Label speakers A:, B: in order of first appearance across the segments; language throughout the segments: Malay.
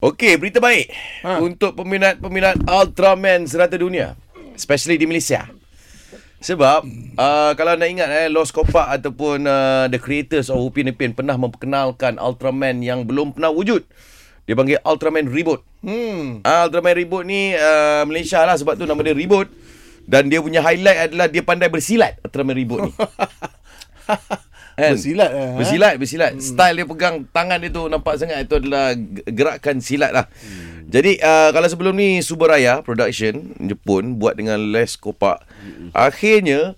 A: Okey, berita baik ha.
B: Ha.
A: untuk peminat-peminat Ultraman serata dunia. Especially di Malaysia. Sebab uh, kalau nak ingat eh Los Copa ataupun uh, the creators of Upin Ipin pernah memperkenalkan Ultraman yang belum pernah wujud. Dia panggil Ultraman Reboot.
B: Hmm.
A: Ah, Ultraman Reboot ni uh, Malaysia lah sebab tu nama dia Reboot. Dan dia punya highlight adalah dia pandai bersilat Ultraman Reboot ni. Kan?
B: Bersilat lah, ha?
A: Bersilat, bersilat. Hmm. Style dia pegang tangan dia tu nampak sangat itu adalah ge- gerakan silat lah. Hmm. Jadi uh, kalau sebelum ni Subaraya Production Jepun buat dengan Les Kopak. Hmm. Akhirnya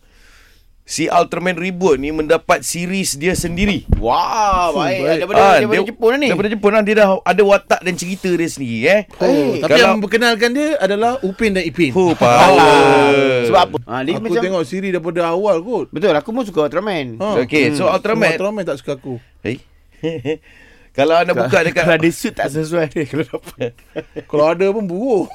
A: si Ultraman Reboot ni mendapat series dia sendiri.
C: Wah, baik.
B: baik.
C: Daripada,
A: Ah,
C: daripada
A: dia-
C: Jepun lah ni.
A: Daripada Jepun lah dia dah ada watak dan cerita dia sendiri eh.
B: Oh,
C: Eh,
B: tapi
A: kalau-
B: yang memperkenalkan dia adalah Upin dan Ipin.
A: Fu Oh,
C: Alah.
A: power.
C: Sebab apa? Ha, dia
B: aku
C: macam,
B: tengok siri daripada awal kot.
C: Betul, aku pun suka Ultraman.
B: Ha.
A: Okey, so
B: Ultraman.
A: Ultraman.
B: Ultraman tak suka aku.
A: Eh? Kalau anda buka dekat
C: Kalau dia suit tak sesuai dia kalau dapat.
B: Kalau ada pun buruk.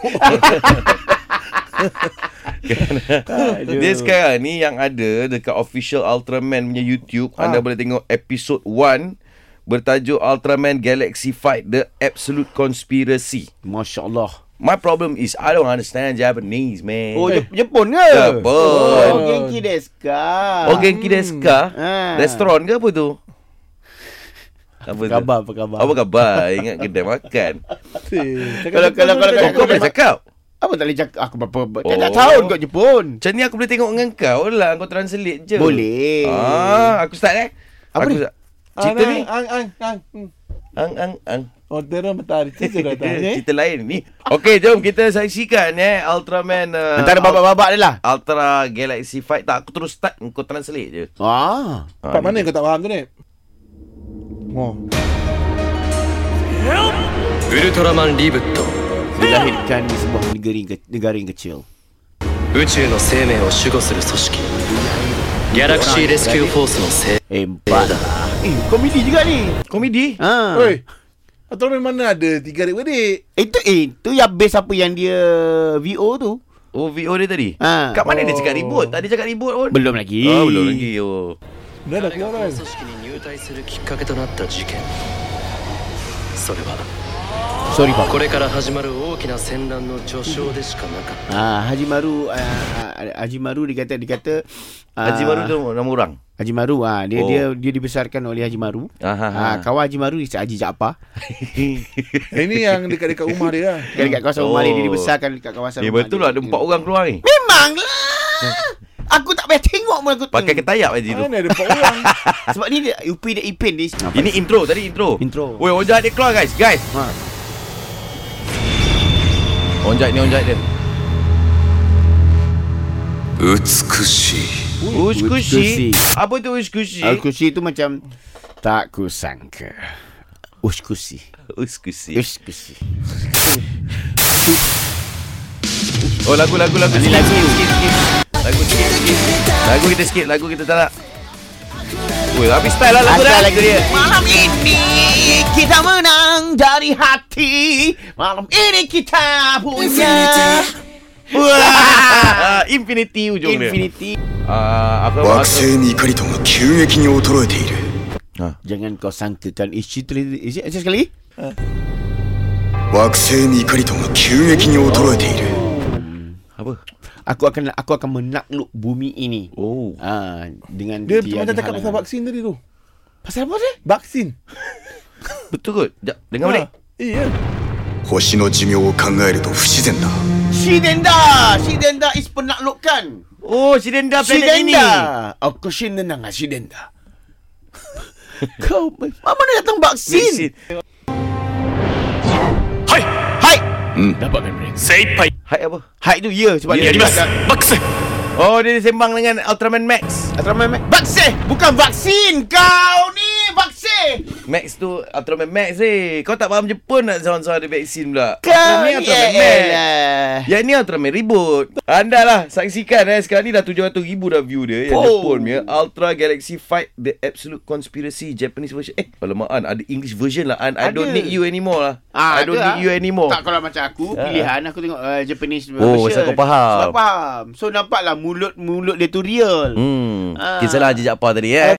A: Dia sekarang ni yang ada dekat official Ultraman punya YouTube, ha.
C: Ah.
A: anda boleh tengok episode 1 bertajuk Ultraman Galaxy Fight The Absolute Conspiracy.
C: Masya Allah.
A: My problem is I don't understand Japanese, man.
C: Oh,
A: Oh,
C: Jep- Jepun ke?
A: Jepun.
C: Oh, Genki desu ka?
A: oh Genki desu ka?
C: Ah.
A: Restoran ke apa tu? Apa tu?
C: Khabar, apa khabar?
A: Apa khabar? Ingat kedai makan.
C: Kalau- kalau- kalau-
A: Kau,
C: kalau-
A: kau boleh cakap?
C: Apa tak boleh cakap? Aku berapa? Oh. Tak,
A: Oh.
C: tak tahu kot Jepun.
A: Macam ni aku boleh tengok dengan kau lah. Kau translate
C: Ya.
A: je.
C: Boleh.
A: Ah, aku start eh.
C: Apa
A: aku
C: ni? Ah,
A: start. Cerita ni.
B: Ang ang ang. Hmm. Oh,
A: Ang, ang, ang.
B: Ordera matahari cerita dah tak. eh?
A: Cerita lain ni. Okey, jom kita saksikan eh. Ultraman. Uh,
C: Ah, Antara babak-babak dia lah.
A: Ultra Galaxy Fight. Tak, aku terus start. Kau translate je.
C: Ah.
B: Part mana kau tak faham tu ni? Oh.
D: ウルトラマンリブット
C: Dilahirkan di sebuah negeri, ke- negara yang kecil.
D: 宇宙の生命を守護する組織ギャラクシーレスキューフォースの生
C: Empat. Eh, komedi juga ni.
A: Komedi? Ha?
C: Ha.
B: Oi. Ultraman mana ada tiga adik-beradik?
C: Itu eh, tu yang base apa yang dia VO tu.
A: Oh, VO dia tadi?
C: Ah.
A: Kat mana dia
B: Oh.
A: cakap ribut? Tadi cakap ribut pun.
C: Belum lagi.
A: Oh, belum lagi. Oh.
B: Dah dah
D: 誰が
B: keluar
D: この
B: kan?
D: 組織に入隊するきっかけとなった事件それは
C: Sorry, Pak.
D: これから始まる大きな戦乱の序章でしかなかっ
C: Ah, Haji Maru ah, ah, Haji Maru dia kata dia kata ah,
A: Haji Baru tu nama orang.
C: Haji Maru ah dia
A: Oh. ha,
C: oh. dia dia dibesarkan oleh Haji Maru.
A: Aha.
C: Ah, kawan Haji Maru ni Haji Jaafar.
B: Ini yang dekat-dekat rumah dia lah.
C: Kan dekat kawasan
A: Oh.
C: rumah dia dia dibesarkan dekat kawasan
A: Eh,
C: rumah
A: betul lah. Ada empat orang keluar ni.
C: Hmm. Memanglah. Aku tak payah tengok pun aku
A: Pakai ketayap Haji tu.
B: Mana ada empat orang?
C: Sebab ni dia Upi dan Ipin ni.
A: Ini intro. Tadi intro.
C: Intro.
A: Weh, onjak dia keluar guys. Guys.
C: Ha.
A: Onjak ni, onjak dia.
D: た美しい
A: Uskushi.
C: Uskushi.
A: Apa tu uskushi?
C: Uskusi tu macam tak kusangka. Uskusi.
A: Uskushi.
C: Uskusi.
A: Oh lagu lagu lagu Ini lagu Lagu sikit sikit Lagu kita sikit Lagu kita tak nak Ui, habis style lah lagu dah
C: Asal lagu
A: Itu
C: dia. Malam ini kita menang dari hati. Malam ini kita punya
A: Wah Ah, Infinity ujung dia
C: Infinity.
A: Ah, Aku
E: 惑
A: aku-
E: 星ニカリトンが急激に衰えている
C: Jangan kau sangkakan Eh, isi tu isi isi sekali.
E: 惑星ニカリトンが急激に衰えている
A: Apa
C: Aku akan aku akan menakluk bumi ini.
A: Oh
C: Ah dengan
B: Dia macam
C: tiada
B: cakap
C: halangan.
B: pasal vaksin tadi tu.
C: Pasal apa dia?
B: Vaksin. Ha. Eh, ya.
A: Betul kot Sekejap Dengar balik
B: Iya.
E: 星の寿命を考えると不自然だ
C: Shidenda. Shidenda is penaklukkan.
A: Oh Sirenda planet ini
C: Shidenda. Aku Shidenda dengan Shidenda. Kau mana datang vaksin? Hai.
A: Hai apa?
C: Hai tu ya sebab dia ada-
A: Oh dia sembang dengan Ultraman Max
C: Ultraman Max Vaksin Bukan vaksin Kau ni Vaksin
A: Max tu Ultraman Max eh Kau tak faham Jepun nak seorang-seorang ada vaksin pula
C: Kau
A: Ultraman
C: ni eh.
A: Ultraman Max Yang ni Ultraman Reboot Anda lah saksikan eh Sekarang ni dah 700 ribu dah view dia Yang oh.
C: Oh.
A: Jepun punya Ultra Galaxy Fight The Absolute Conspiracy Japanese version Eh Alamak An Ada English version lah An I
C: Ada. Ah,
A: don't need you anymore lah I don't need you anymore
C: Tak kalau macam aku
A: Ah.
C: Pilihan aku tengok uh, Japanese
A: Oh, pasal kau faham.
C: Sebab faham So nampaklah mulut Mulut dia tu real
A: Hmm
C: Ah.
A: Kisahlah Haji Jaafar tadi eh